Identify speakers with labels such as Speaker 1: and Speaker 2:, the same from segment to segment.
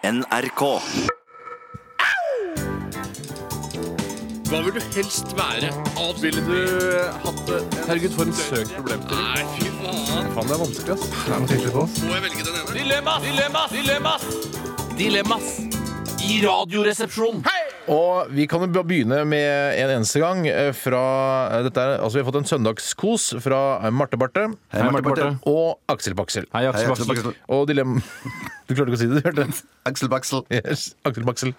Speaker 1: NRK.
Speaker 2: Hva vil du helst være? Avspille du
Speaker 3: Herregud, for en søk problem.
Speaker 2: Nei, fy faen.
Speaker 3: Faen, det er vanskelig, ass.
Speaker 2: Må jeg velge den ene?
Speaker 4: Dilemmas! Dilemmas! Dilemmas! Dilemmas i Radioresepsjonen.
Speaker 3: Og vi kan jo bare begynne med en eneste gang eh, fra eh, dette er, altså Vi har fått en søndagskos fra eh, Marte Barte
Speaker 1: Hei, Marte Barthe.
Speaker 3: og Aksel Baksel.
Speaker 4: Hei,
Speaker 1: Hei, Aksel Baksel.
Speaker 3: Og dilemma Du klarte ikke å si det, du hørte?
Speaker 1: Aksel Baksel.
Speaker 3: Yes, Aksel Baksel.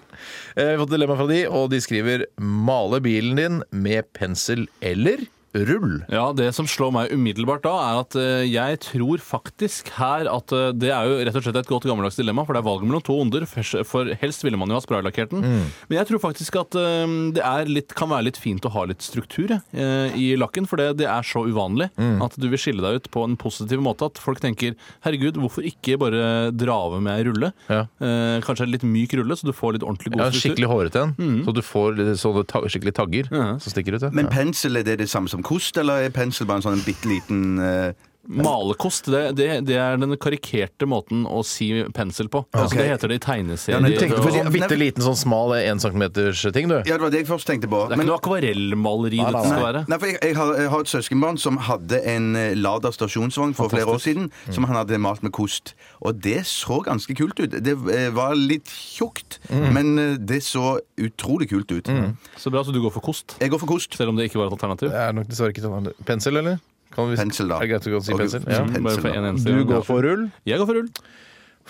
Speaker 3: Eh, Vi har fått dilemma fra de, og de skriver 'Male bilen din med pensel eller rull'.
Speaker 4: Ja, Det som slår meg umiddelbart da, er at eh, jeg tror faktisk her at eh, det er jo rett og slett et godt gammeldags dilemma, for det er valget mellom to onder. Først, for helst ville man jo ha spraylakkert den.
Speaker 3: Mm.
Speaker 4: Men jeg tror faktisk at eh, det er litt, kan være litt fint å ha litt struktur jeg, eh, i lakken, for det, det er så uvanlig
Speaker 3: Mm.
Speaker 4: at du vil skille deg ut på en positiv måte at folk tenker 'herregud, hvorfor ikke bare dra over med ei rulle'?
Speaker 3: Ja.
Speaker 4: Eh, Kanskje en litt myk rulle, så du får litt ordentlig god
Speaker 3: Ja, en
Speaker 4: struktur.
Speaker 3: skikkelig hårete en,
Speaker 4: Mm.
Speaker 3: så du får litt sånne ta skikkelig tagger som stikker ut. Ja.
Speaker 1: Men
Speaker 3: Ja.
Speaker 1: pensel, er det det samme som kost, eller er pensel bare en sånn bitte liten eh,
Speaker 4: Malekost, det, det, det er den karikerte måten å si pensel på. Altså, det heter det i tegneserier.
Speaker 1: Ja, men
Speaker 3: Du
Speaker 1: jeg
Speaker 3: tenkte
Speaker 4: og-
Speaker 3: på
Speaker 1: fordi-
Speaker 4: det
Speaker 3: en bitte liten sånn smal én centimeters ting, du.
Speaker 1: Ja, det var det jeg først tenkte på.
Speaker 4: er ikke noe akvarellmaleri
Speaker 3: Nei,
Speaker 4: dette
Speaker 3: nei,
Speaker 4: skal
Speaker 1: Nei,
Speaker 4: være.
Speaker 1: nei, for jeg, jeg, har, jeg har et søskenbarn som hadde en eh, Lada stasjonsvogn for flere år siden, som han hadde malt med kost. Og det så ganske kult ut. Det eh, var litt tjukt, men eh, det så utrolig kult ut.
Speaker 4: Så bra, så du går for kost.
Speaker 1: Jeg går for kost.
Speaker 4: Selv om det ikke var et alternativ.
Speaker 3: Det er nok dessverre ikke sånn. Pensel, eller? Kan vi,
Speaker 1: Pensel, da.
Speaker 3: Er det greit å si
Speaker 1: Ok, Mm.
Speaker 3: pensel? Ja.
Speaker 1: pensel,
Speaker 4: Bare for
Speaker 1: da.
Speaker 4: en eneste
Speaker 3: Du
Speaker 4: gang.
Speaker 3: går for rull?
Speaker 4: Jeg går for rull.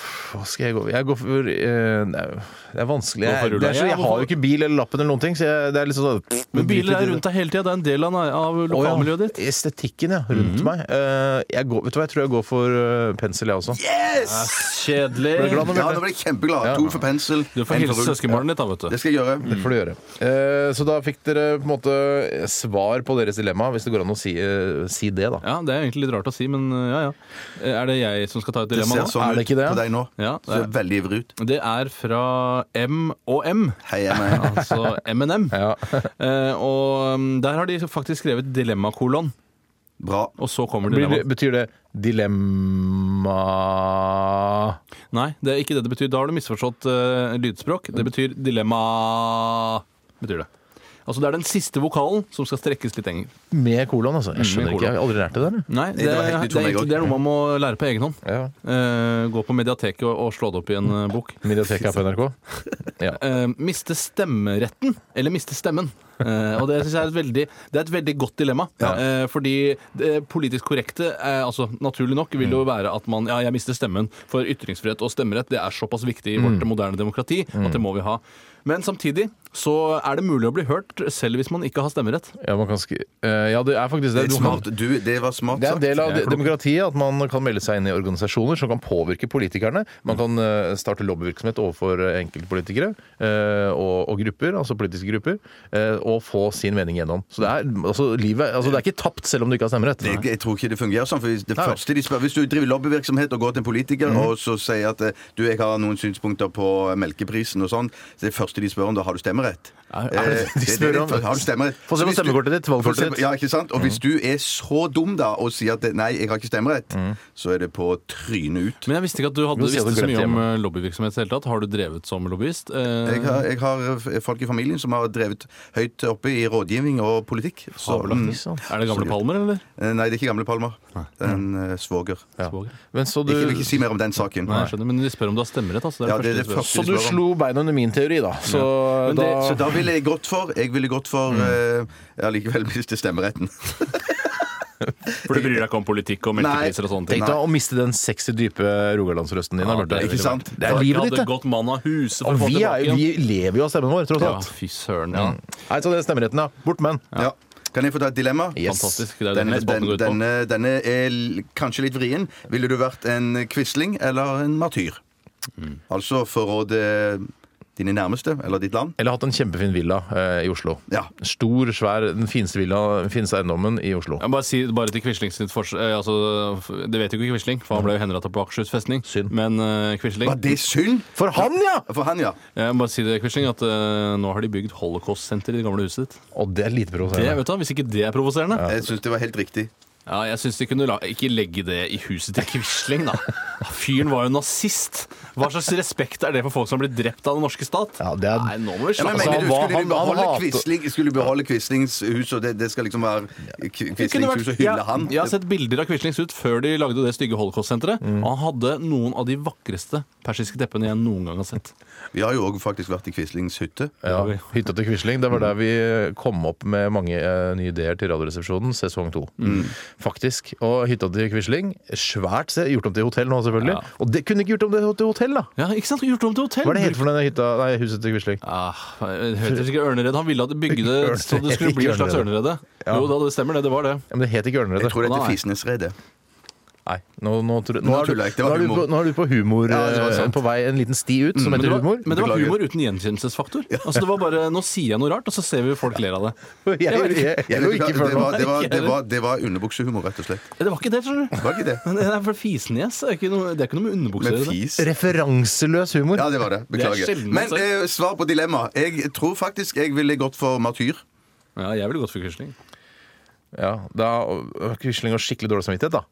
Speaker 3: Hva skal jeg gå Jeg går for eh, nei, Det er vanskelig.
Speaker 4: Gå
Speaker 3: Jeg,
Speaker 4: for rull,
Speaker 3: det er
Speaker 4: da.
Speaker 3: så,
Speaker 4: Ja,
Speaker 3: jeg har
Speaker 4: hvorfor?
Speaker 3: jo ikke bil eller lappen eller noen ting, så jeg, det er litt sånn
Speaker 4: Men biler er rundt deg hele tida. Det er en del av, av
Speaker 3: Å, ja.
Speaker 4: lokalmiljøet ditt. Mm.
Speaker 3: Estetikken, ja. Rundt meg. Eh, jeg går, vet du hva, jeg tror jeg går for eh, pensel, jeg også.
Speaker 1: Yes!
Speaker 3: Ble du
Speaker 4: Kjedelig.
Speaker 3: glad nå,
Speaker 1: Ja,
Speaker 3: Bjarte?
Speaker 1: nå ble jeg kjempeglad.
Speaker 3: Ja.
Speaker 1: To for pensel.
Speaker 4: Du får
Speaker 1: en for
Speaker 4: hilse
Speaker 1: rull.
Speaker 4: søskenbarnet ditt, da, vet du.
Speaker 1: Det skal jeg gjøre.
Speaker 3: Det får du gjøre. Eh, så da fikk dere på en måte svar på deres dilemma, hvis det går an å si, eh, si det, da.
Speaker 4: Ja, Det er egentlig litt rart å si, men eh, ja ja. Er det jeg som skal ta et
Speaker 1: Det
Speaker 4: dilemma
Speaker 1: ser
Speaker 4: nå?
Speaker 1: sånn
Speaker 3: Er det ikke det?
Speaker 1: ut på deg nå.
Speaker 4: Ja,
Speaker 1: Du ser veldig ivrig ut.
Speaker 4: Det er fra M og M.
Speaker 1: Hei, Emma.
Speaker 4: Altså M&M.
Speaker 3: Ja.
Speaker 4: Eh, og um, der har de faktisk skrevet dilemmakolon.
Speaker 1: Bra.
Speaker 4: Og så kommer
Speaker 3: Blir
Speaker 4: dilemma.
Speaker 3: det, betyr det dilemma
Speaker 4: Nei, det er ikke det det betyr. Da har du misforstått eh, lydspråk. Det betyr dilemma betyr det. Altså Det er den siste vokalen som skal strekkes litt lenger.
Speaker 3: med kolon, altså? Jeg skjønner
Speaker 4: med
Speaker 3: ikke, jeg har aldri lært det der. jeg.
Speaker 4: Nei, det,
Speaker 1: det
Speaker 4: det,
Speaker 1: var
Speaker 4: er,
Speaker 1: helt nytt for meg
Speaker 4: egentlig-
Speaker 1: også.
Speaker 4: det er noe man må lære på egen hånd.
Speaker 3: Ja.
Speaker 4: Eh, gå på mediateket og, og slå det opp i en eh, bok.
Speaker 3: Mediateket på NRK. Ja.
Speaker 4: Eh, miste stemmeretten eller miste stemmen. Eh, og det synes jeg er et veldig, det er et veldig godt dilemma. Eh, fordi det politisk korrekte, eh, altså naturlig nok, vil jo være at man Ja, jeg mister stemmen, for ytringsfrihet og stemmerett det er såpass viktig i vårt moderne demokrati at det må vi ha. Men samtidig så er det mulig å bli hørt selv hvis man ikke har stemmerett.
Speaker 3: Ja, man kan skri eh, ja, det er faktisk det.
Speaker 1: Det, er
Speaker 3: Du kan-
Speaker 1: smart. Du, det var smart
Speaker 3: Det er en
Speaker 1: sagt.
Speaker 3: del av
Speaker 4: Jeg er klok.
Speaker 3: demokratiet at man kan melde seg inn i organisasjoner som kan påvirke politikerne. Man kan eh, starte lobbyvirksomhet overfor eh, enkeltpolitikere eh, og, og grupper, altså politiske grupper, eh, og få sin mening gjennom. Så det er, altså, livet, altså, det er ikke tapt selv om du ikke har stemmerett.
Speaker 1: Det, jeg tror ikke det fungerer sånn. for Hvis det
Speaker 3: Nei. Mhm.
Speaker 1: første de spør Hvis du driver lobbyvirksomhet og går til en politiker og så sier at eh, du, jeg har noen synspunkter på melkeprisen og sånn, så det første de spør om da, har du stemmerett?
Speaker 4: Er- er det-
Speaker 3: de
Speaker 1: Eh, det er det
Speaker 3: spør om-
Speaker 1: de- Har du stemmerett?
Speaker 3: Få se
Speaker 1: Så
Speaker 3: på
Speaker 1: hvis du-
Speaker 3: stemmekortet ditt, Mhm. valgkortet
Speaker 1: Få se på-
Speaker 3: ditt.
Speaker 1: Ja, ikke sant? Og hvis du er så dum da og sier at det- nei, jeg har ikke stemmerett,
Speaker 3: Mhm.
Speaker 1: så er det på trynet ut.
Speaker 4: Men jeg visste ikke at du hadde
Speaker 3: Du sier
Speaker 4: visste
Speaker 3: du
Speaker 4: så
Speaker 3: glemte
Speaker 4: mye om eh, lobbyvirksomhet i det hele tatt. Har du drevet som lobbyist? Eh,
Speaker 1: Jeg har, jeg har f- folk i familien som har drevet høyt oppe i rådgivning og politikk. Så, mm,
Speaker 3: Sånn.
Speaker 4: er det gamle palmer, eller?
Speaker 1: eh, nei, det er ikke gamle Palmer. Det er en eh, svoger.
Speaker 3: Ja.
Speaker 4: Svoger.
Speaker 3: Men så du,
Speaker 1: Ikke, vil ikke si mer om den saken.
Speaker 4: Nei, jeg skjønner, men de spør om du har stemmerett. Altså. Det er
Speaker 1: Ja,
Speaker 4: det,
Speaker 1: det
Speaker 4: første de
Speaker 1: er det
Speaker 4: spør. om.
Speaker 1: første.
Speaker 3: så du slo beina under min teori, da. Så
Speaker 4: sånn. Men
Speaker 3: da
Speaker 4: det-
Speaker 1: Så da ville jeg gått for Jeg ville gått for
Speaker 4: Mm.
Speaker 1: eh, Jeg har likevel mistet stemmeretten.
Speaker 4: For du bryr deg ikke om politikk og melkepriser og sånne ting?
Speaker 3: Tenk deg å miste den sexy, dype rogalandsrøsten din. da,
Speaker 4: Ja,
Speaker 3: Bjarte.
Speaker 4: det er
Speaker 1: Ikke sant?
Speaker 3: Det er
Speaker 4: Jeg
Speaker 3: livet
Speaker 4: hadde
Speaker 3: ditt, det.
Speaker 4: gått mann av huset for
Speaker 3: Og
Speaker 4: å få
Speaker 3: vi, er,
Speaker 4: tilbake
Speaker 3: jo-
Speaker 4: igjen.
Speaker 3: vi Mm. lever jo av stemmen vår, tross
Speaker 4: Ja,
Speaker 3: alt.
Speaker 4: fy søren. Ja.
Speaker 3: Nei, så det er stemmeretten, da. Bort med den.
Speaker 1: Ja. Kan jeg få ta et dilemma?
Speaker 3: Yes.
Speaker 4: Fantastisk. Det er jo det
Speaker 1: Denne,
Speaker 4: hele
Speaker 1: den,
Speaker 4: spalten går ut på.
Speaker 1: denne, denne er l- kanskje litt vrien. Ville du vært en quisling eller en martyr?
Speaker 4: Mm.
Speaker 1: Altså forråde dine nærmeste eller ditt land?
Speaker 3: Eller hatt en kjempefin villa eh, i Oslo.
Speaker 1: Ja.
Speaker 3: Stor, svær, den fineste villa, den fineste eiendommen i Oslo.
Speaker 4: Jeg må bare, si, bare til Quisling sitt fors... eh, Altså, f- det vet jo ikke Quisling, for han ble jo henretta på Akershus festning.
Speaker 3: Synd.
Speaker 4: Men eh, Quisling
Speaker 1: Var det synd?
Speaker 3: For han, ja!
Speaker 1: For han, ja.
Speaker 4: Jeg må bare si det, Quisling, at eh, nå har de bygd holocaust-senter i det gamle huset ditt.
Speaker 3: Og det er lite
Speaker 4: Det,
Speaker 3: provoserende.
Speaker 4: vet du, hva, Hvis ikke det er provoserende
Speaker 1: Jeg syns det var helt riktig.
Speaker 4: Ja, jeg syns de kunne la ikke legge det i huset til Quisling, da. Fyren var jo nazist! Hva slags respekt er det for folk som har blitt drept av den norske stat?
Speaker 3: Ja, det er-
Speaker 4: Nei, nå må vi
Speaker 1: Ja,
Speaker 4: slappe
Speaker 1: men
Speaker 3: Altså,
Speaker 1: mener
Speaker 3: han
Speaker 1: du,
Speaker 3: var-
Speaker 1: skulle
Speaker 3: han-
Speaker 1: du
Speaker 3: han
Speaker 1: beholde
Speaker 3: hater-
Speaker 1: Quisling, skulle du beholde Quislings hus, og det, det skal liksom være Qu-
Speaker 4: Det kunne
Speaker 1: Quislings hus og
Speaker 4: vært-
Speaker 1: hylle han?
Speaker 4: Jeg, jeg har sett bilder av Quislings ut før de lagde det stygge holocaust-senteret.
Speaker 3: Mm.
Speaker 4: Og han hadde noen av de vakreste persiske teppene jeg noen gang har sett.
Speaker 1: Vi har jo òg faktisk vært i Quislings hytte.
Speaker 3: Ja, Hytta til Quisling. Det var der vi eh, kom opp med mange eh, nye ideer til Radioresepsjonen sesong to.
Speaker 1: Mm.
Speaker 3: Faktisk. Og hytta til Quisling, svært sted, gjort om til hotell nå, selvfølgelig.
Speaker 4: Ja.
Speaker 3: Og det kunne ikke gjort om det til hotell, da!
Speaker 4: Ja, ikke sant? Gjort om til hotell!
Speaker 3: Hva er det het for denne hytta, nei, huset til Quisling?
Speaker 4: Ah, det heter ikke Ørnered. Han ville at de bygde det så det skulle bli en slags Ørnerede.
Speaker 3: Ja.
Speaker 4: Jo da, det stemmer det. Det var det.
Speaker 3: Ja, men det het ikke
Speaker 1: Jeg tror
Speaker 3: Ørneredet.
Speaker 1: det heter
Speaker 4: Nei.
Speaker 1: Fisnesredet.
Speaker 3: Nei, nå, nå, tror- nå,
Speaker 1: Nå
Speaker 3: er du,
Speaker 1: tuller jeg ikke, det
Speaker 3: nå,
Speaker 1: var
Speaker 3: er du på,
Speaker 1: humor.
Speaker 3: nå er du på humor,
Speaker 1: Ja, det var
Speaker 3: eh,
Speaker 1: sant. Mm,
Speaker 3: på vei en liten sti ut, som
Speaker 4: Men det
Speaker 3: heter
Speaker 4: var,
Speaker 3: humor.
Speaker 4: men det var
Speaker 1: Beklager.
Speaker 4: humor uten gjenkjennelsesfaktor. Altså, det var bare Nå sier jeg noe rart, og så ser vi folk ler av det.
Speaker 3: Jeg, jeg, jeg,
Speaker 1: Jeg
Speaker 3: lå
Speaker 1: vet
Speaker 3: ikke
Speaker 1: ikke hva-
Speaker 3: før
Speaker 1: det,
Speaker 3: nå.
Speaker 1: var, det, var, det, var, det var underbuksehumor, rett og slett.
Speaker 4: Det var ikke det, skjønner du.
Speaker 1: Var ikke det?
Speaker 4: Men det er for fisenjes. Det er ikke noe, det er ikke noe med underbukser å
Speaker 1: Men
Speaker 4: gjøre. det.
Speaker 1: fis
Speaker 3: Referanseløs humor.
Speaker 1: Ja, det var det. Beklager.
Speaker 4: Det er sjelden man
Speaker 1: Men eh, svar på dilemmaet. Jeg tror faktisk jeg ville gått for martyr.
Speaker 4: Ja, jeg ville gått for Quisling.
Speaker 3: Ja, da øh, Quisling har skikkelig dårlig samvittighet, da.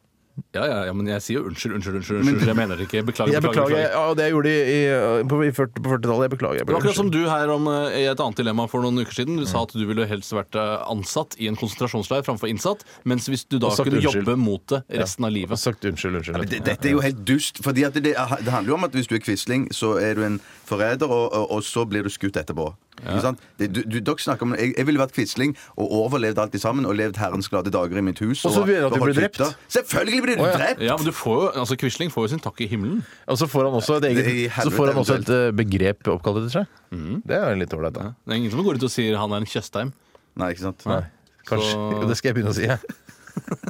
Speaker 4: Ja, ja, ja, men jeg sier jo unnskyld, unnskyld, unnskyld. unnskyld. Jeg mener det ikke. Beklager,
Speaker 3: Jeg
Speaker 4: beklager.
Speaker 3: beklager.
Speaker 4: beklager.
Speaker 3: Ja, det jeg gjorde i, i, på, i 40 på 40-tallet. Jeg beklager. Jeg
Speaker 4: Det var
Speaker 3: beklager.
Speaker 4: Akkurat som du her om eh, i et annet dilemma for noen uker siden. Du sa at du ville helst vært eh, ansatt i en konsentrasjonsleir framfor innsatt. Mens hvis du da
Speaker 3: Og sagt
Speaker 4: kunne
Speaker 3: unnskyld.
Speaker 4: jobbe mot det resten av
Speaker 3: Jeg har
Speaker 4: livet.
Speaker 3: sagt unnskyld, unnskyld.
Speaker 1: Men det- Dette er jo helt dust. Fordi at det, det handler jo om at hvis du er Quisling, så er du en forræder, og, og, og så blir du skutt etterpå. Ikke sant? Det, du, du, dere snakker om jeg, jeg ville vært Quisling og overlevd alt sammen og levd herrens glade dager i mitt hus.
Speaker 3: Og så vil jeg at du
Speaker 1: beholdt
Speaker 3: blir drept.
Speaker 1: hytta. Selvfølgelig blir du
Speaker 3: Å, ja.
Speaker 1: drept!
Speaker 4: Ja, men du får jo, altså Quisling får jo sin takk i himmelen.
Speaker 3: Og så får han også et,
Speaker 1: Det er i
Speaker 3: eget,
Speaker 1: helvete
Speaker 3: så får han også et eh, begrep oppkalt etter seg.
Speaker 4: Mhm.
Speaker 3: Det er litt ålreit, da.
Speaker 4: Det er ingen som går ut og sier han er en Tjøstheim.
Speaker 1: Nei, ikke sant?
Speaker 3: Nei. Kanskje.
Speaker 4: Så-
Speaker 3: Jo, Det skal jeg begynne å si, jeg.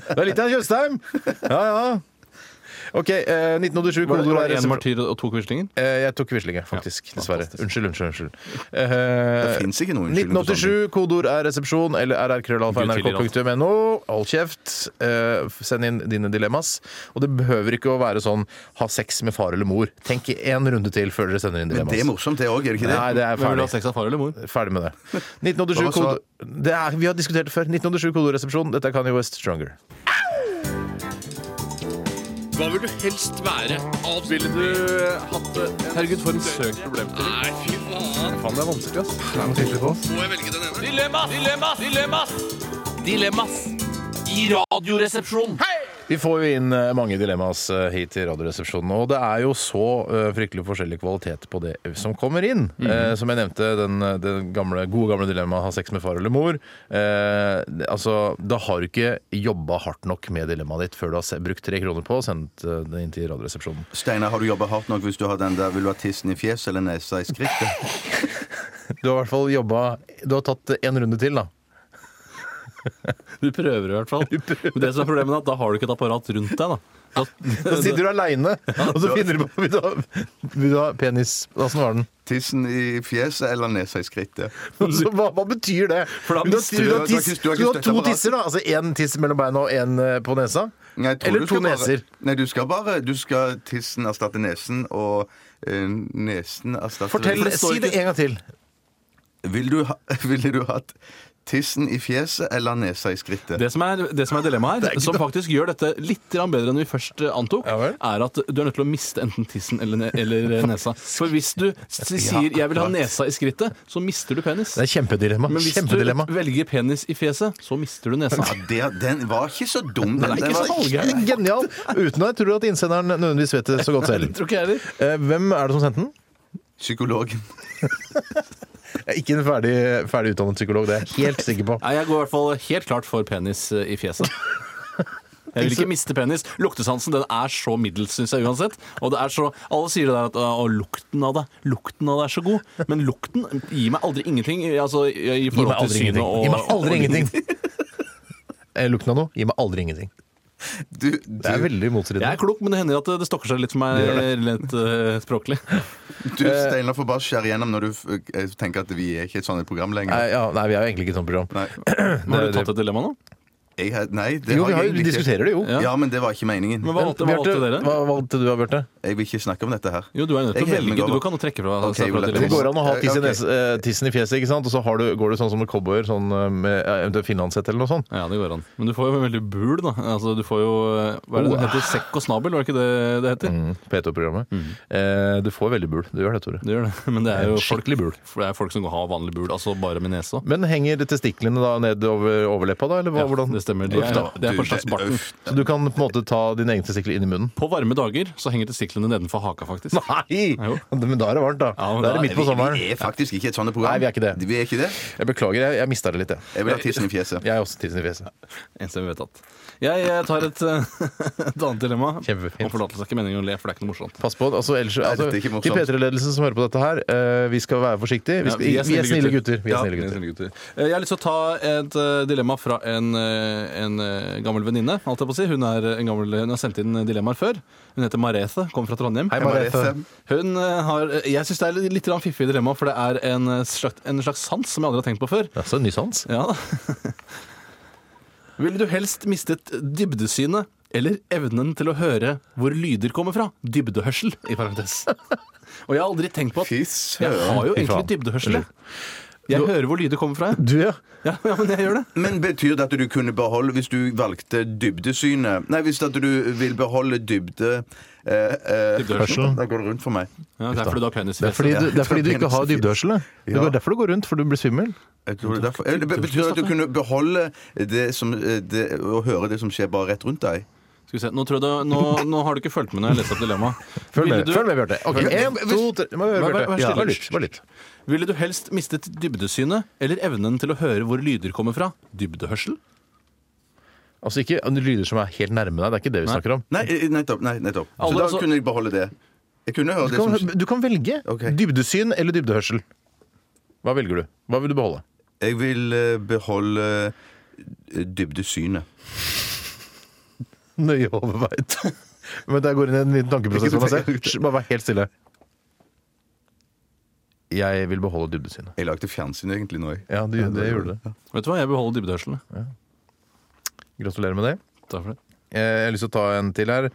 Speaker 3: Det er litt av en Tjøstheim! Ja, ja. OK. eh, 1987
Speaker 4: Var det
Speaker 3: kodeord
Speaker 4: var
Speaker 3: er
Speaker 4: det én
Speaker 3: resepsjon.
Speaker 4: martyr og to Quislinger?
Speaker 3: Eh, Jeg tok Quislinge, faktisk. dessverre. Unnskyld, unnskyld. unnskyld.
Speaker 1: Det finnes ikke noen unnskyldning for
Speaker 3: 1987, kodeord er resepsjon eller rrkrøllalfa.nrk.no. Hold kjeft. Eh, Send inn dine dilemmas. Og det behøver ikke å være sånn ha sex med far eller mor. Tenk én runde til før dere sender inn
Speaker 1: Men
Speaker 3: dilemmas.
Speaker 1: det er morsomt, det òg, er det ikke det?
Speaker 3: Nei, det er
Speaker 4: Hvem vil
Speaker 3: ferdig.
Speaker 4: ha sex av far eller mor?
Speaker 3: Ferdig med det.
Speaker 1: Hva
Speaker 3: 1987
Speaker 1: sa-
Speaker 3: kode... Det er, vi har diskutert det før. 1987 koderesepsjon. Dette er Kanye West Stronger.
Speaker 2: Hva vil du helst være? Alt ville du hatt det?
Speaker 4: Herregud, for en søkt problem.
Speaker 2: Nei, fy faen.
Speaker 4: Faen, det er vanskelig, ass.
Speaker 2: Må jeg velge den ene?
Speaker 4: Dilemmas! Dilemmas! Dilemmas! Dilemmas i Radioresepsjonen!
Speaker 3: Vi får jo inn eh, mange dilemmas eh, hit til Radioresepsjonen, og det er jo så eh, fryktelig forskjellig kvalitet på det som kommer inn. Eh, Som jeg nevnte, den, eh, den gamle, gode gamle dilemmaet ha sex med far eller mor. Eh, det- altså, da har du ikke jobba hardt nok med dilemmaet ditt før du har se- brukt tre kroner på og sendt eh, det inn til Radioresepsjonen.
Speaker 1: Steinar, har du jobba hardt nok hvis du har den der Vil du ha tissen i fjeset eller nesa i skrittet?
Speaker 3: Du har i hvert fall jobba Du har tatt én runde til, da.
Speaker 4: Du prøver i hvert fall. Men det som er problemet er at da har du ikke et apparat rundt deg. Da, da
Speaker 3: Så sitter du aleine, og så finner du på Vil du ha, vil du ha penis? Åssen var den?
Speaker 1: Tissen i fjeset eller nesa i skrittet?
Speaker 3: Altså, hva, hva betyr det?
Speaker 4: da
Speaker 3: du, har,
Speaker 4: mister
Speaker 3: du,
Speaker 1: du-
Speaker 3: har tiss,
Speaker 1: du
Speaker 3: du,
Speaker 1: har ikke-
Speaker 3: har
Speaker 1: du har ikke
Speaker 3: to
Speaker 1: støtteapparat.
Speaker 3: tisser, da. Altså én tiss mellom beina og én på nesa.
Speaker 1: Nei, jeg tror
Speaker 3: Eller
Speaker 1: du
Speaker 3: to
Speaker 1: skal bare-
Speaker 3: neser.
Speaker 1: Nei, du skal bare Du skal tissen erstatte nesen, og eh, nesen erstatte
Speaker 3: Fortell,
Speaker 1: Vil-
Speaker 3: Si det en gang til.
Speaker 1: Vil du ha, Ville du hatt tissen i fjeset eller nesa i skrittet?
Speaker 4: Det som er, det som er dilemmaet her, som faktisk gjør dette litt grann bedre enn vi først eh, antok,
Speaker 3: Ja vel.
Speaker 4: er at du er nødt til å miste enten tissen eller, ne eller eh, nesa. For hvis du s- sier 'jeg vil ha nesa i skrittet', så mister du penis.
Speaker 3: Det er kjempedilemma.
Speaker 4: Men hvis
Speaker 3: kjempedilemma.
Speaker 4: du velger penis i fjeset, så mister du nesa.
Speaker 1: Ja, det, den var ikke så dum. Den,
Speaker 4: ikke
Speaker 1: den var,
Speaker 4: så halvgæren.
Speaker 3: Genial! Uten at jeg tror at innsenderen nødvendigvis vet det så godt selv.
Speaker 4: Tror ikke jeg heller.
Speaker 3: Eh, Hvem er det som sendte den?
Speaker 1: Psykologen.
Speaker 3: Jeg er Ikke en ferdig, ferdig utdannet psykolog, det er jeg helt sikker på.
Speaker 4: Nei, jeg går i hvert fall helt klart for penis eh, i fjeset. Jeg vil ikke miste penis. Luktesansen den er så middels, syns jeg uansett. Og det er så, Alle sier det der at å, lukten av det lukten av det er så god, men lukten gir meg aldri ingenting. i- Altså, i i
Speaker 3: Gi
Speaker 4: forhold
Speaker 3: meg
Speaker 4: til
Speaker 3: aldri
Speaker 4: synet
Speaker 3: ingenting.
Speaker 4: og
Speaker 3: Gi meg
Speaker 4: og-
Speaker 3: aldri ingenting. Eh, Lukten av noe? Gi meg aldri ingenting.
Speaker 1: Du, du,
Speaker 3: Det er veldig
Speaker 4: Jeg er
Speaker 3: motstridende.
Speaker 4: klok, men det hender at eh, det stokker seg litt for meg rent eh, språklig.
Speaker 1: du
Speaker 3: Eh.
Speaker 1: Steinar, får bare skjære igjennom når du eh, tenker at vi er ikke et sånt program lenger.
Speaker 3: Nei, ja, nei, vi er jo egentlig ikke et sånt program.
Speaker 1: Nei.
Speaker 4: Har du
Speaker 3: det-
Speaker 4: tatt et dilemma nå?
Speaker 1: Jeg, har- nei, det
Speaker 3: Jo, vi har,
Speaker 1: har
Speaker 3: jo-
Speaker 1: jeg egentlig
Speaker 3: vi
Speaker 1: ikke.
Speaker 3: diskuterer det jo.
Speaker 1: Ja. men det var ikke meningen.
Speaker 4: Men hva valgte, hva
Speaker 3: Bjarte,
Speaker 4: valgte dere?
Speaker 3: hva valgte du, Bjarte?
Speaker 1: Jeg vil ikke snakke om dette her.
Speaker 4: Jo, du er nødt til å
Speaker 1: Jeg heller meg
Speaker 4: velge. Du
Speaker 1: over.
Speaker 4: kan jo trekke fra
Speaker 1: Ok,
Speaker 4: seg fra
Speaker 1: vel,
Speaker 3: Det
Speaker 4: dilemmaet.
Speaker 3: går an å ha tiss i,
Speaker 1: Ok.
Speaker 3: nes, eh, tissen i fjeset, ikke sant? og så har du, går du sånn som en cowboy, sånn, eh, med eh, eventuelt finlandshette eller noe sånt.
Speaker 4: Ja, det går an. Men du får jo veldig bul, da. Altså, du får jo Hva er det det heter? Sekk og snabel, var det ikke det det heter?
Speaker 3: Mm. P2-programmet. Eh, du får veldig bul. Du gjør det, Tore.
Speaker 4: Det gjør det. Men det er jo folk,
Speaker 3: Skikkelig bul.
Speaker 4: for det er folk som har vanlig bul, altså bare med nese òg.
Speaker 3: Men henger testiklene da ned over overleppa, da? Eller hva, hvordan?
Speaker 4: Det stemmer. Det
Speaker 3: Uff
Speaker 4: er,
Speaker 3: da.
Speaker 4: det er på en
Speaker 1: Du,
Speaker 4: slags
Speaker 1: det-
Speaker 4: barten.
Speaker 1: uff.
Speaker 3: Så du kan på en måte ta dine egne testikler inn i munnen?
Speaker 4: På varme dager så henger testiklene nedenfor haka, faktisk.
Speaker 3: Nei!
Speaker 4: Jo.
Speaker 3: Men da er det varmt, da.
Speaker 4: Ja,
Speaker 3: da
Speaker 4: men da
Speaker 3: er det midt på sommeren.
Speaker 1: Vi er faktisk ikke et sånt program.
Speaker 3: Nei, vi er ikke det.
Speaker 1: Vi er ikke det.
Speaker 3: Jeg beklager, jeg, jeg mista det litt, jeg.
Speaker 1: Jeg vil ha tissen i fjeset.
Speaker 3: Jeg er også tissen i fjeset.
Speaker 4: Eneste vi vet at. Jeg, jeg tar et, et annet dilemma.
Speaker 3: Kjempefint.
Speaker 4: Og forlatelse er ikke meningen å le, for det er ikke noe morsomt.
Speaker 3: Pass på, altså, ellers,
Speaker 1: Nei,
Speaker 3: altså,
Speaker 1: dette er ikke morsomt.
Speaker 3: Til P3-ledelsen som hører på dette her, eh, vi skal være forsiktige. Vi,
Speaker 4: Ja,
Speaker 3: skal, vi, er, snille gutter. Vi er
Speaker 4: Ja,
Speaker 3: snille
Speaker 4: vi er
Speaker 3: gutter.
Speaker 4: snille gutter. Eh, Jeg har lyst til å ta et eh, dilemma fra en, eh, en eh, gammel venninne. holdt jeg på å si. Hun, er eh, en gammel, hun har sendt inn dilemmaer før. Hun heter Marete, kommer fra Trondheim.
Speaker 3: Hei, Marete.
Speaker 4: Hun eh, har, Jeg syns det er litt- litt grann fiffig dilemma, for det er en eh, slags, en slags sans som jeg aldri har tenkt på før.
Speaker 3: Ja, så en ny sans.
Speaker 4: Ja da. Ville du helst mistet dybdesynet eller evnen til å høre hvor lyder kommer fra? Dybdehørsel, i parentes. Og jeg har aldri tenkt på at
Speaker 1: Fy
Speaker 4: Jeg har
Speaker 1: søren.
Speaker 4: jo egentlig
Speaker 3: faen.
Speaker 4: dybdehørsel. jeg. Jeg hører hvor lyder kommer fra. jeg.
Speaker 3: Du, ja.
Speaker 4: Ja, ja, men jeg gjør det.
Speaker 1: Men betyr det at du kunne beholde Hvis du valgte dybdesynet Nei, hvis at du vil beholde dybde... Eh, eh,
Speaker 4: Dybdehørsel.
Speaker 1: Da går det rundt for meg.
Speaker 4: Ja, det er fordi du har penis i
Speaker 3: Det er fordi
Speaker 4: fjeset.
Speaker 3: du, det er fordi du ikke har dybdehørsel. det. Det
Speaker 1: Ja.
Speaker 3: er derfor du går rundt, for du blir svimmel.
Speaker 1: Jeg tror det er derfor. Eh, det Betyr det at du kunne beholde det som eh, det, Og høre det som skjer bare rett rundt deg?
Speaker 4: Skal vi se. Nå, tror jeg du, nå, nå har du ikke fulgt med når jeg leste opp dilemmaet.
Speaker 3: Følg
Speaker 4: Ville
Speaker 3: med,
Speaker 4: du-
Speaker 3: følg med Bjarte. Ok,
Speaker 1: Men-
Speaker 3: en, to, tre Må høre,
Speaker 4: Vær- vær-
Speaker 3: Bjarte.
Speaker 4: vær
Speaker 3: Ja,
Speaker 4: stille.
Speaker 3: Bare lytt. Bare lytt.
Speaker 4: Ville du helst mistet dybdesynet eller evnen til å høre hvor lyder kommer fra? Dybdehørsel?
Speaker 3: Altså ikke lyder som er helt nærme deg. Det er ikke det vi
Speaker 4: Nei.
Speaker 3: snakker om.
Speaker 1: Nei, eh, nettopp. Nei, nettopp. Så
Speaker 4: Alle,
Speaker 1: da
Speaker 4: altså-
Speaker 1: kunne jeg beholde det. Jeg kunne høre
Speaker 3: Du
Speaker 1: det som
Speaker 3: kan, du kan velge
Speaker 1: Ok.
Speaker 3: dybdesyn eller dybdehørsel. Hva velger du? Hva vil du beholde?
Speaker 1: Jeg vil eh, beholde eh, dybdesynet.
Speaker 3: Nøye overveid. Men der går inn i en liten tankeprosess for meg selv. Hysj, Bare vær helt stille. Jeg vil beholde dybdesynet.
Speaker 1: Jeg lagde fjernsyn egentlig nå. jeg.
Speaker 3: Ja, du, det gjorde du.
Speaker 4: Vet du hva, jeg beholder dybdehørselen. jeg.
Speaker 3: Gratulerer med det.
Speaker 4: Takk for det.
Speaker 3: Eh, Jeg har lyst til å ta en til her.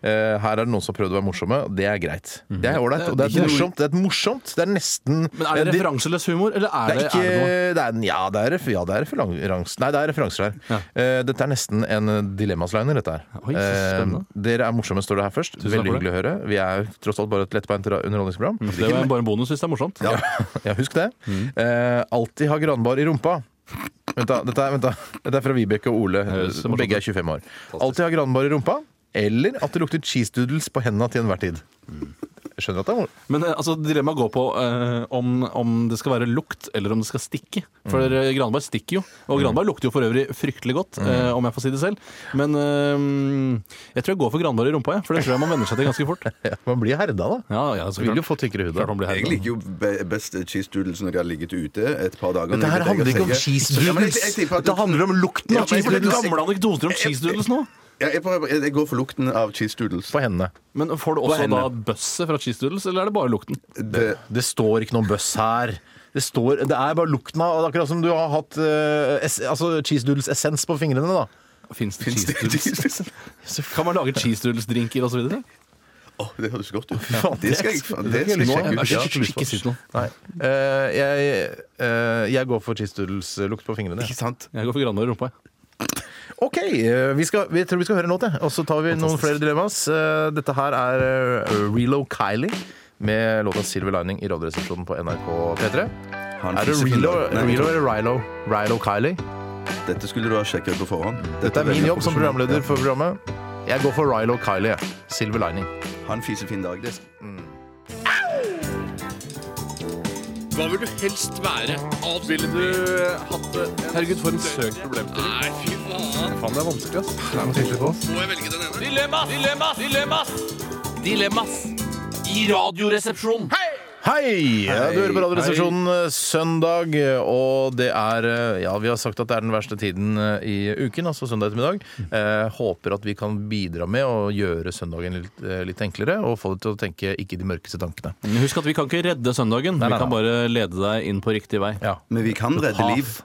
Speaker 3: Eh, Her er det noen som har prøvd å være morsomme. og Det er greit. Det er ålreit. Og Mhm. det er,
Speaker 1: Det er
Speaker 3: et
Speaker 1: ikke noe-
Speaker 3: morsomt. Det er et morsomt. Det er nesten
Speaker 4: Men er det
Speaker 3: det-
Speaker 4: referanseløs humor, eller er
Speaker 3: Det er
Speaker 4: det,
Speaker 3: ikke
Speaker 4: er det noe?
Speaker 3: det er, en- Ja, det er, ref- ja, det er referans- Nei, det er referanser her.
Speaker 4: Ja.
Speaker 3: Eh, dette er nesten en eh, dilemmasliner, dette her.
Speaker 4: Oi, så spennende.
Speaker 3: Eh, dere er morsomme, står det her først.
Speaker 4: takk
Speaker 3: Veldig
Speaker 4: for Mm.
Speaker 3: hyggelig å høre. Vi er tross alt bare et lettbeint ra- underholdningsprogram.
Speaker 4: Det var bare en bonus hvis det er morsomt.
Speaker 3: Ja. ja, husk det.
Speaker 4: Mm.
Speaker 3: Eh, alltid ha granbar i rumpa. Vent da, dette, er, vent da. dette er fra Vibeke og Ole.
Speaker 4: høres så morsomt
Speaker 3: Begge er 25 år. Alltid ha granbar i rumpa, eller at det lukter cheese doodles på hendene til enhver tid.
Speaker 4: Mm.
Speaker 3: Jeg skjønner at det er mor-
Speaker 4: Men eh, altså, dilemmaet går på eh, om, om det skal være lukt, eller om det skal stikke. For eh, Granberg stikker jo. Og Granberg lukter jo for øvrig fryktelig godt, eh, om jeg får si det selv. Men eh, jeg tror jeg går for Granberg i rumpa, jeg, for det tror jeg man venner seg til ganske fort.
Speaker 3: ja, Man blir herda, da.
Speaker 4: Ja, ja,
Speaker 3: Du
Speaker 4: så
Speaker 3: vil jo
Speaker 4: klart.
Speaker 3: få tykkere hud.
Speaker 4: Klart
Speaker 3: da.
Speaker 4: man blir
Speaker 1: Jeg
Speaker 4: herda.
Speaker 1: liker jo be- best cheese doodles når jeg har ligget ute et par dager.
Speaker 3: Dette her
Speaker 1: Jeg
Speaker 3: handler ikke om
Speaker 1: tenker-
Speaker 3: cheese
Speaker 1: Ja, men jeg-
Speaker 3: doodles.
Speaker 1: jeg tipper at
Speaker 3: Det handler om lukten
Speaker 1: Ja,
Speaker 3: av
Speaker 1: men
Speaker 3: cheese
Speaker 4: Det
Speaker 1: jeg-
Speaker 4: er
Speaker 3: doodles.
Speaker 4: gamle anekdoter om cheese doodles nå.
Speaker 1: Ja, jeg, prøver, jeg går for lukten av cheese doodles.
Speaker 3: På hendene.
Speaker 4: Men får du også
Speaker 1: henne.
Speaker 4: da bøsset fra cheese doodles, eller er det bare lukten?
Speaker 1: Det,
Speaker 3: Det står ikke noen bøss her. Det, står, det er bare lukten av det er Akkurat som du har hatt eh, ess, altså cheese doodles essens på fingrene. da
Speaker 4: Fins det
Speaker 1: Finnes
Speaker 4: cheese
Speaker 1: det cheese
Speaker 4: doodles?
Speaker 1: doodles?
Speaker 4: Kan man lage cheese doodles-drinker osv.?
Speaker 1: Åh, det høres godt ut.
Speaker 3: faen,
Speaker 1: Det skal jeg,
Speaker 3: det- Nå-
Speaker 1: det skal jeg sjekke ut.
Speaker 3: Ja,
Speaker 1: Ja.
Speaker 4: Ikke si noe.
Speaker 3: Nei. Eh, jeg, eh, jeg går for cheese doodles-lukt på fingrene.
Speaker 1: Ikke sant?
Speaker 4: Jeg går for Granberg i rumpa, jeg.
Speaker 3: OK, eh, vi, skal, vi tror vi skal høre en låt, jeg. og så tar vi noen flere dilemmas. Eh, dette her er eh, Relo Kylie med låta 'Silver Lining' i Radioresepsjonen på NRK P3.
Speaker 1: Han
Speaker 3: Er det
Speaker 1: fiser
Speaker 3: Relo,
Speaker 1: fint. Nei,
Speaker 3: Relo eller Rilo? Rilo Kylie?
Speaker 1: Dette skulle du ha sjekket på forhånd.
Speaker 3: Dette er min
Speaker 1: veldig
Speaker 3: jobb som
Speaker 1: profesjonelt.
Speaker 3: programleder for programmet. Jeg går for Rilo Kylie. jeg. Silver Lining.
Speaker 1: Ja. Ha en fisefin dag. Det
Speaker 2: Hva vil du helst være? Ville du hatt det?
Speaker 4: Herregud, for en søkt problem.
Speaker 2: Nei, fy faen.
Speaker 4: Faen, det er vanskelig, ass.
Speaker 2: Må jeg velge den ene? Dilemmas! Dilemmas! Dilemmas! Dilemmas! I radioresepsjonen.
Speaker 3: Hei! Ja, Du hører på Radioresepsjonen eh, søndag, eh, og det er eh, Ja, vi har sagt at det er den verste tiden eh, i uken, altså søndag ettermiddag. Eh, håper at vi kan bidra med å gjøre søndagen litt, eh, litt enklere, og få deg til å tenke ikke de mørkeste tankene.
Speaker 4: Men Husk at vi kan ikke redde søndagen.
Speaker 3: Nei, nei,
Speaker 4: Vi kan
Speaker 3: nei.
Speaker 4: bare lede deg inn på riktig vei.
Speaker 3: Ja. Mm.
Speaker 1: Men vi kan redde liv.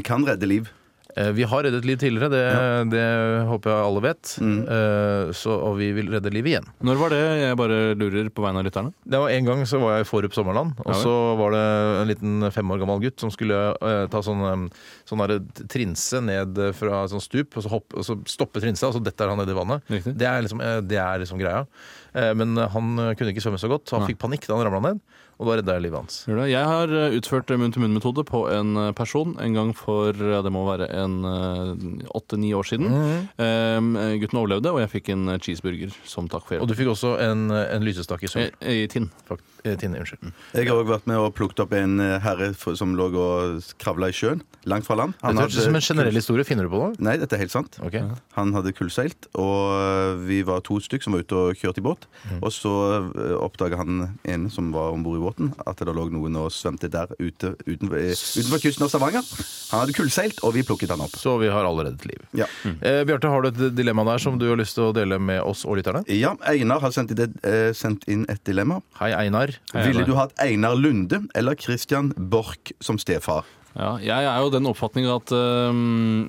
Speaker 1: Vi kan redde liv.
Speaker 3: Eh, Vi har reddet liv tidligere, det, det håper jeg alle vet. Eh, Så, og vi vil redde liv igjen.
Speaker 4: Når var det? Jeg bare lurer på vegne av lytterne.
Speaker 3: Det var En gang så var jeg i Forup sommerland, og så var det en liten fem år gammel gutt som skulle eh, ta sånn, eh, sånn der trinse ned fra sånn stup, og så, hopp, og så stoppe trinsa, og så detter han ned i vannet.
Speaker 4: Riktig.
Speaker 3: Det er, liksom, eh, det er liksom greia. Eh, Men han kunne ikke svømme så godt, så han fikk panikk da han ramla ned, og da redda jeg livet hans.
Speaker 4: Gjør det? Jeg har eh, utført munn-til-munn-metode på en eh, person en gang for eh, det må være en åtte-ni år siden. Eh, gutten overlevde, og jeg fikk en eh, cheeseburger som takk for
Speaker 3: Og
Speaker 4: hjelp.
Speaker 3: du fikk også en, en lysestakk i
Speaker 4: I,
Speaker 3: sør.
Speaker 4: i tinn.
Speaker 3: Tine, unnskyld.
Speaker 1: Jeg har òg vært med og plukket opp en eh, herre for- som lå og kravla i sjøen, langt fra land.
Speaker 3: Dette høres ut som en generell historie. Finner du på noe?
Speaker 1: Nei, dette er helt sant.
Speaker 3: Ok.
Speaker 1: Han hadde kullseilt, og eh, vi var to stykk som var ute og kjørte i båt.
Speaker 3: Mm.
Speaker 1: Og så oppdaga han ene som var om bord i båten, at det lå noen og svømte der ute utenfor, eh, utenfor kysten av Stavanger. Han hadde kullseilt, og vi plukket han opp.
Speaker 3: Så vi har alle reddet liv.
Speaker 1: Ja.
Speaker 3: Eh, Bjarte, har du et dilemma der som du har lyst til å dele med oss og lytterne?
Speaker 1: ja, Einar har sendt, i det, eh, sendt inn et dilemma.
Speaker 3: Hei, Einar.
Speaker 1: Ville du hatt Einar Lunde eller Christian Borch som stefar?
Speaker 4: Ja, jeg er jo den oppfatning at eh,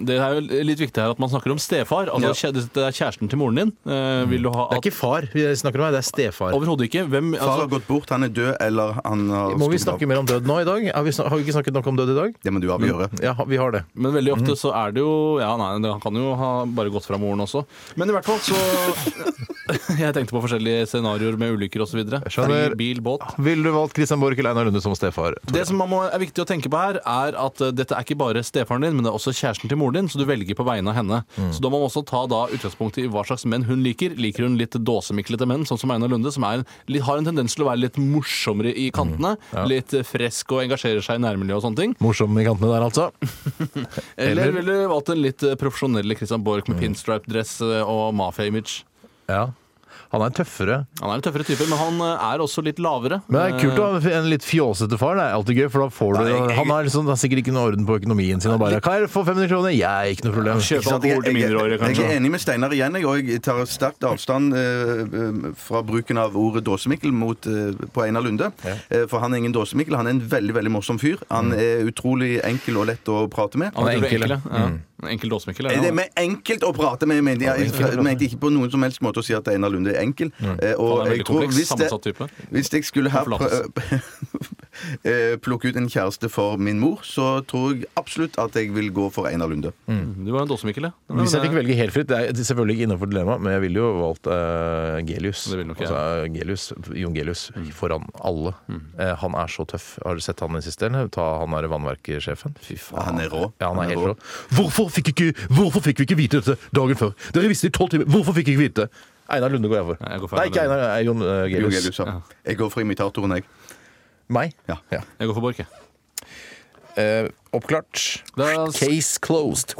Speaker 4: Det er jo litt viktig her at man snakker om stefar. Altså, kjæ- Det er kjæresten til moren din. Eh, vil du ha
Speaker 3: Det er
Speaker 4: at
Speaker 3: ikke far vi snakker om her, det er stefar.
Speaker 4: Overhodet ikke. Hvem,
Speaker 1: Far
Speaker 4: altså,
Speaker 1: har gått bort, han er død, eller han har
Speaker 3: Må vi snakke mer om død nå i dag? Har vi, snak har vi ikke snakket nok om Mm. død i dag?
Speaker 1: Det må du avgjøre.
Speaker 3: Ja, vi har det.
Speaker 4: Men veldig ofte så er det jo Ja, nei, det- han kan jo ha bare gått fra moren også. Men i hvert fall så Jeg tenkte på forskjellige scenarioer med ulykker osv.
Speaker 3: skjønner.
Speaker 4: Bil, båt.
Speaker 3: Ville du valgt Christian Borch eller Einar Lunde som stefar?
Speaker 4: Det som man må, er viktig å tenke på her, er at eh, dette er ikke bare stefaren din, men det er også kjæresten til moren din, så du velger på vegne av henne.
Speaker 3: Mm.
Speaker 4: Så da må man også ta da utgangspunkt i hva slags menn hun liker. Liker hun litt dåsemiklete menn, sånn som Einar Lunde, som er en, litt, har en tendens til å være litt morsommere i kantene,
Speaker 3: Mm,
Speaker 4: litt eh, fresk og engasjerer seg i nærmiljøet og sånne ting?
Speaker 3: Morsom i kantene der, altså.
Speaker 4: Eller,
Speaker 3: Eller- Mm.
Speaker 4: ville du valgt den litt eh, profesjonelle Christian Borch med pinstripe-dress eh, og mafia-image?
Speaker 3: Ja. Han er tøffere.
Speaker 4: Han er en tøffere type, men han eh, er også litt lavere. Eh,
Speaker 3: Men det er kult å ha en litt fjåsete far. Det er alltid gøy, for da får du Han har liksom, han har sikkert ikke noe orden på økonomien sin. Og bare 'Hva er det for 500 kroner?' Jeg, ikke noe problem.
Speaker 4: Kjøpe
Speaker 1: Sant? Jeg,
Speaker 4: alkohol til
Speaker 1: jeg,
Speaker 4: mindreårige,
Speaker 1: jeg,
Speaker 4: kanskje.
Speaker 1: er enig med Steinar igjen, jeg, og jeg tar sterkt avstand eh, eh, fra bruken av ordet dåsemikkel mot, eh, på Einar Lunde. Eh, for han er ingen dåsemikkel, han er en veldig veldig morsom fyr. Han er utrolig enkel og lett å prate med.
Speaker 4: Han
Speaker 3: er
Speaker 4: er enkel,
Speaker 3: enkel, Mm.
Speaker 4: ja. ja. En Enkel dåsemikkel.
Speaker 1: Eh, Det
Speaker 4: er han.
Speaker 1: med enkelt å prate med mente jeg, jeg mente ikke på noen som helst måte å si at Einar Lunde er enkel. Eh,
Speaker 4: Han er en
Speaker 1: Og
Speaker 4: veldig
Speaker 1: jeg tror
Speaker 4: kompleks,
Speaker 1: hvis, det,
Speaker 4: sammensatt type.
Speaker 1: hvis jeg skulle her
Speaker 4: Han
Speaker 1: prø- eh, plukke ut en kjæreste for min mor, så tror jeg absolutt at jeg vil gå for Einar Lunde.
Speaker 3: Mm.
Speaker 4: Mm. Du var en dåsemikkel, ja. Nei,
Speaker 3: Hvis jeg fikk
Speaker 4: men det-
Speaker 3: velge helt fritt Det er selvfølgelig ikke innenfor dilemma, men jeg ville jo valgt eh, Gelius.
Speaker 4: Det ville nok jeg. Mm.
Speaker 3: Altså, Gelius. Jon Gelius foran alle. Eh, han er så tøff. Har du sett han insisterende? Ta han der vannverkssjefen. Fy faen.
Speaker 1: Ja, han er rå.
Speaker 3: Ja, han
Speaker 1: Han
Speaker 3: er
Speaker 1: er
Speaker 3: helt rå. Hvorfor fikk, ikke, hvorfor fikk vi ikke vite dette dagen før? Dere visste i tolv timer! Hvorfor fikk vi ikke vite det? Einar Lunde går jeg for.
Speaker 4: Nei, jeg går for
Speaker 3: Nei, ikke
Speaker 4: Einar
Speaker 3: Einar, eh, Jon eh,
Speaker 1: Jo,
Speaker 3: Gelius.
Speaker 1: Gelius, ja. Jeg går for imitatoren, jeg.
Speaker 3: Meg?
Speaker 1: Ja.
Speaker 4: Jeg går for Borch, jeg.
Speaker 3: Eh, oppklart.
Speaker 4: Da-
Speaker 3: Case closed.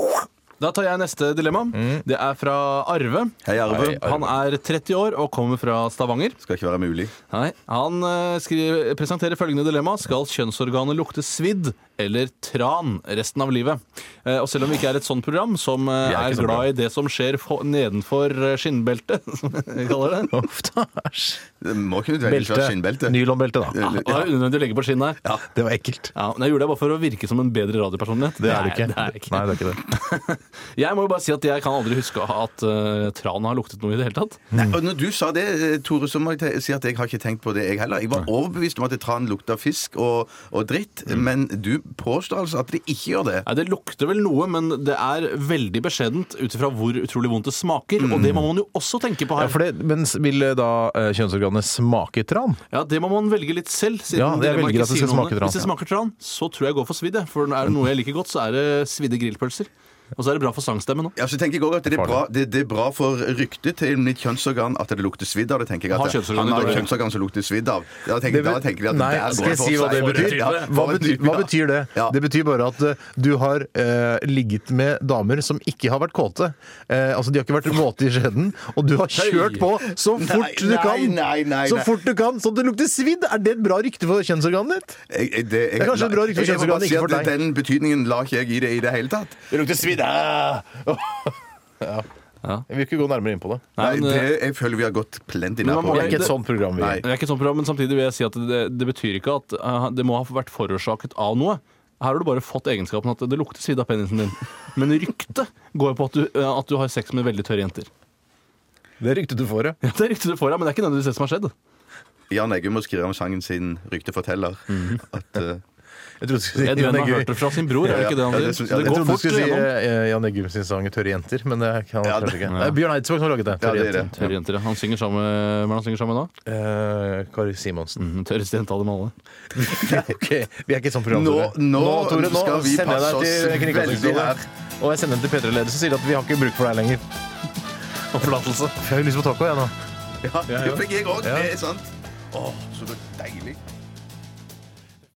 Speaker 4: Da tar jeg neste dilemma. Det er fra Mm. Arve.
Speaker 1: Hei, Arve.
Speaker 3: Hei, Arve.
Speaker 4: Han er 30 år og kommer fra Stavanger.
Speaker 1: Skal ikke være mulig.
Speaker 4: Nei. Han eh, skriver, presenterer følgende dilemma. Skal kjønnsorganet lukte svidd eller tran resten av livet? Eh, og selv om vi ikke er et sånt program som eh,
Speaker 3: Vi er ikke
Speaker 4: er,
Speaker 3: sånn program.
Speaker 4: glad i det som skjer fo- nedenfor eh, skinnbeltet, som vi kaller det
Speaker 3: Uff da, æsj.
Speaker 1: Det må ikke nødvendigvis være
Speaker 3: Belte.
Speaker 1: skinnbelte.
Speaker 3: Nylonbelte, da.
Speaker 4: Og Det er unødvendig å legge på skinn her.
Speaker 3: Ja, det var ekkelt.
Speaker 4: Ja, men jeg gjorde det bare for å virke som en bedre radiopersonlighet.
Speaker 3: Det er det ikke.
Speaker 4: Nei, det er ikke.
Speaker 3: Nei, det er ikke det.
Speaker 4: Jeg må jo bare si at jeg kan aldri huske at eh, tran har luktet noe i det hele tatt.
Speaker 1: Nei, og når du sa det, eh, Tore, så må jeg te- si at jeg har ikke tenkt på det, jeg heller. Jeg var overbevist om at tran lukta fisk og, og dritt,
Speaker 3: Mm.
Speaker 1: men du påstår altså at det ikke gjør det.
Speaker 4: Nei, Det lukter vel noe, men det er veldig beskjedent ut ifra hvor utrolig vondt det smaker. Og det må man jo også tenke på
Speaker 3: Ja,
Speaker 4: her.
Speaker 3: for det men s- vil eh, da eh, kjønnsorganet smake tran?
Speaker 4: Ja, Det må man velge litt selv. siden
Speaker 3: Ja, jeg
Speaker 4: dere må
Speaker 3: velger
Speaker 4: ikke
Speaker 3: at det
Speaker 4: si
Speaker 3: skal
Speaker 4: noe om
Speaker 3: smake tran,
Speaker 4: Hvis det
Speaker 3: ja.
Speaker 4: smaker tran, så tror jeg jeg går for svidd. jeg. For er det noe jeg liker godt, så er det svidde grillpølser. Og så er det bra for sangstemmen òg.
Speaker 1: Ja, så tenker jeg også at det er, bra, det, det er bra for ryktet til mitt kjønnsorgan at det lukter svidd av det. tenker jeg at
Speaker 4: Har
Speaker 1: det-
Speaker 4: kjønnsorganet
Speaker 1: Han har
Speaker 4: dårlig.
Speaker 1: kjønnsorgan som lukter svidd av. Da tenker, da tenker jeg at
Speaker 3: Nei,
Speaker 1: der går
Speaker 3: skal jeg
Speaker 1: for
Speaker 3: si hva
Speaker 1: seg.
Speaker 3: det betyr?
Speaker 1: Ja,
Speaker 3: Hva
Speaker 1: for en
Speaker 3: betyr,
Speaker 1: type,
Speaker 3: hva
Speaker 1: ja.
Speaker 3: betyr det?
Speaker 1: Ja.
Speaker 3: Det betyr bare at eh, du har eh, ligget med damer som ikke har vært kåte. Eh, altså, de har ikke vært våte i skjeden, og du har kjørt på så
Speaker 1: Nei,
Speaker 3: fort du
Speaker 1: nei,
Speaker 3: kan!
Speaker 1: nei, nei,
Speaker 3: så
Speaker 1: nei.
Speaker 3: fort du kan, så det lukter svidd! Er det et bra rykte for kjønnsorganet ditt?
Speaker 1: Jeg- jeg- det, jeg,
Speaker 3: Det er kanskje et bra rykte for
Speaker 1: jeg må bare
Speaker 3: kjønnsorganet,
Speaker 1: si
Speaker 3: ikke for deg.
Speaker 1: at Den betydningen la ikke jeg i det i det ah! hele tatt.
Speaker 3: Det lukter svidd!
Speaker 4: Ja.
Speaker 3: Jeg vil ikke gå nærmere inn på det.
Speaker 1: Nei, det, jeg føler vi har gått plenty nær
Speaker 4: man må
Speaker 1: på.
Speaker 3: Det er ikke et sånt program vi
Speaker 1: Nei.
Speaker 4: Det er ikke sånn program, men samtidig vil jeg si at det, det betyr ikke at eh, det må ha vært forårsaket av noe. her har du bare fått egenskapen at det lukter svidd av penisen din. Men ryktet går på at du, eh, at du har sex med veldig tørre jenter.
Speaker 3: Det ryktet du får, ja.
Speaker 4: Ja, det er ryktet du får, ja, men det er ikke nødvendigvis det som har skjedd.
Speaker 1: Jan Eggum må skrive om sangen sin 'Rykte forteller'. At, eh,
Speaker 3: Jeg trodde du skulle si
Speaker 4: Ed Ven
Speaker 3: Jan
Speaker 4: har
Speaker 3: Eggum-
Speaker 4: hørt det fra sin bror, er det ikke det han
Speaker 1: Ja,
Speaker 4: sier?
Speaker 1: ja, det synes jeg-
Speaker 4: det
Speaker 3: Jeg
Speaker 4: går
Speaker 3: trodde du
Speaker 4: fort liksom.
Speaker 3: skulle si
Speaker 4: gjennom.
Speaker 3: eh, Jan Eggum sin sang 'Tørre jenter', men det kan han
Speaker 1: Ja,
Speaker 3: kanskje
Speaker 1: det-
Speaker 3: ikke. Nei, Bjørn Eidsvåg som har laget det.
Speaker 1: ja,
Speaker 3: Tørre
Speaker 1: det er
Speaker 3: jenter.
Speaker 1: det.
Speaker 4: Tørre jenter, ja. Han synger sammen med Hva er det han synger sammen med da?
Speaker 3: Eh, Kari Simonsen.
Speaker 4: Den tørreste jenta av dem alle.
Speaker 3: Ok, Vi er ikke et sånt program,
Speaker 1: Nå-
Speaker 3: Tore.
Speaker 1: nå
Speaker 3: Tore, nå
Speaker 1: skal vi
Speaker 3: sender
Speaker 1: passe
Speaker 3: jeg
Speaker 1: oss
Speaker 3: deg til
Speaker 1: veldig her.
Speaker 3: Kringkastingsrådet. Og jeg sender den til P3-ledelsen og sier at vi har ikke bruk for deg lenger. Og forlatelse. Jeg har jo lyst på taco, jeg nå.
Speaker 1: ja, det fikk jeg òg.
Speaker 3: Ja.
Speaker 1: Det er sant. Åh, så deilig.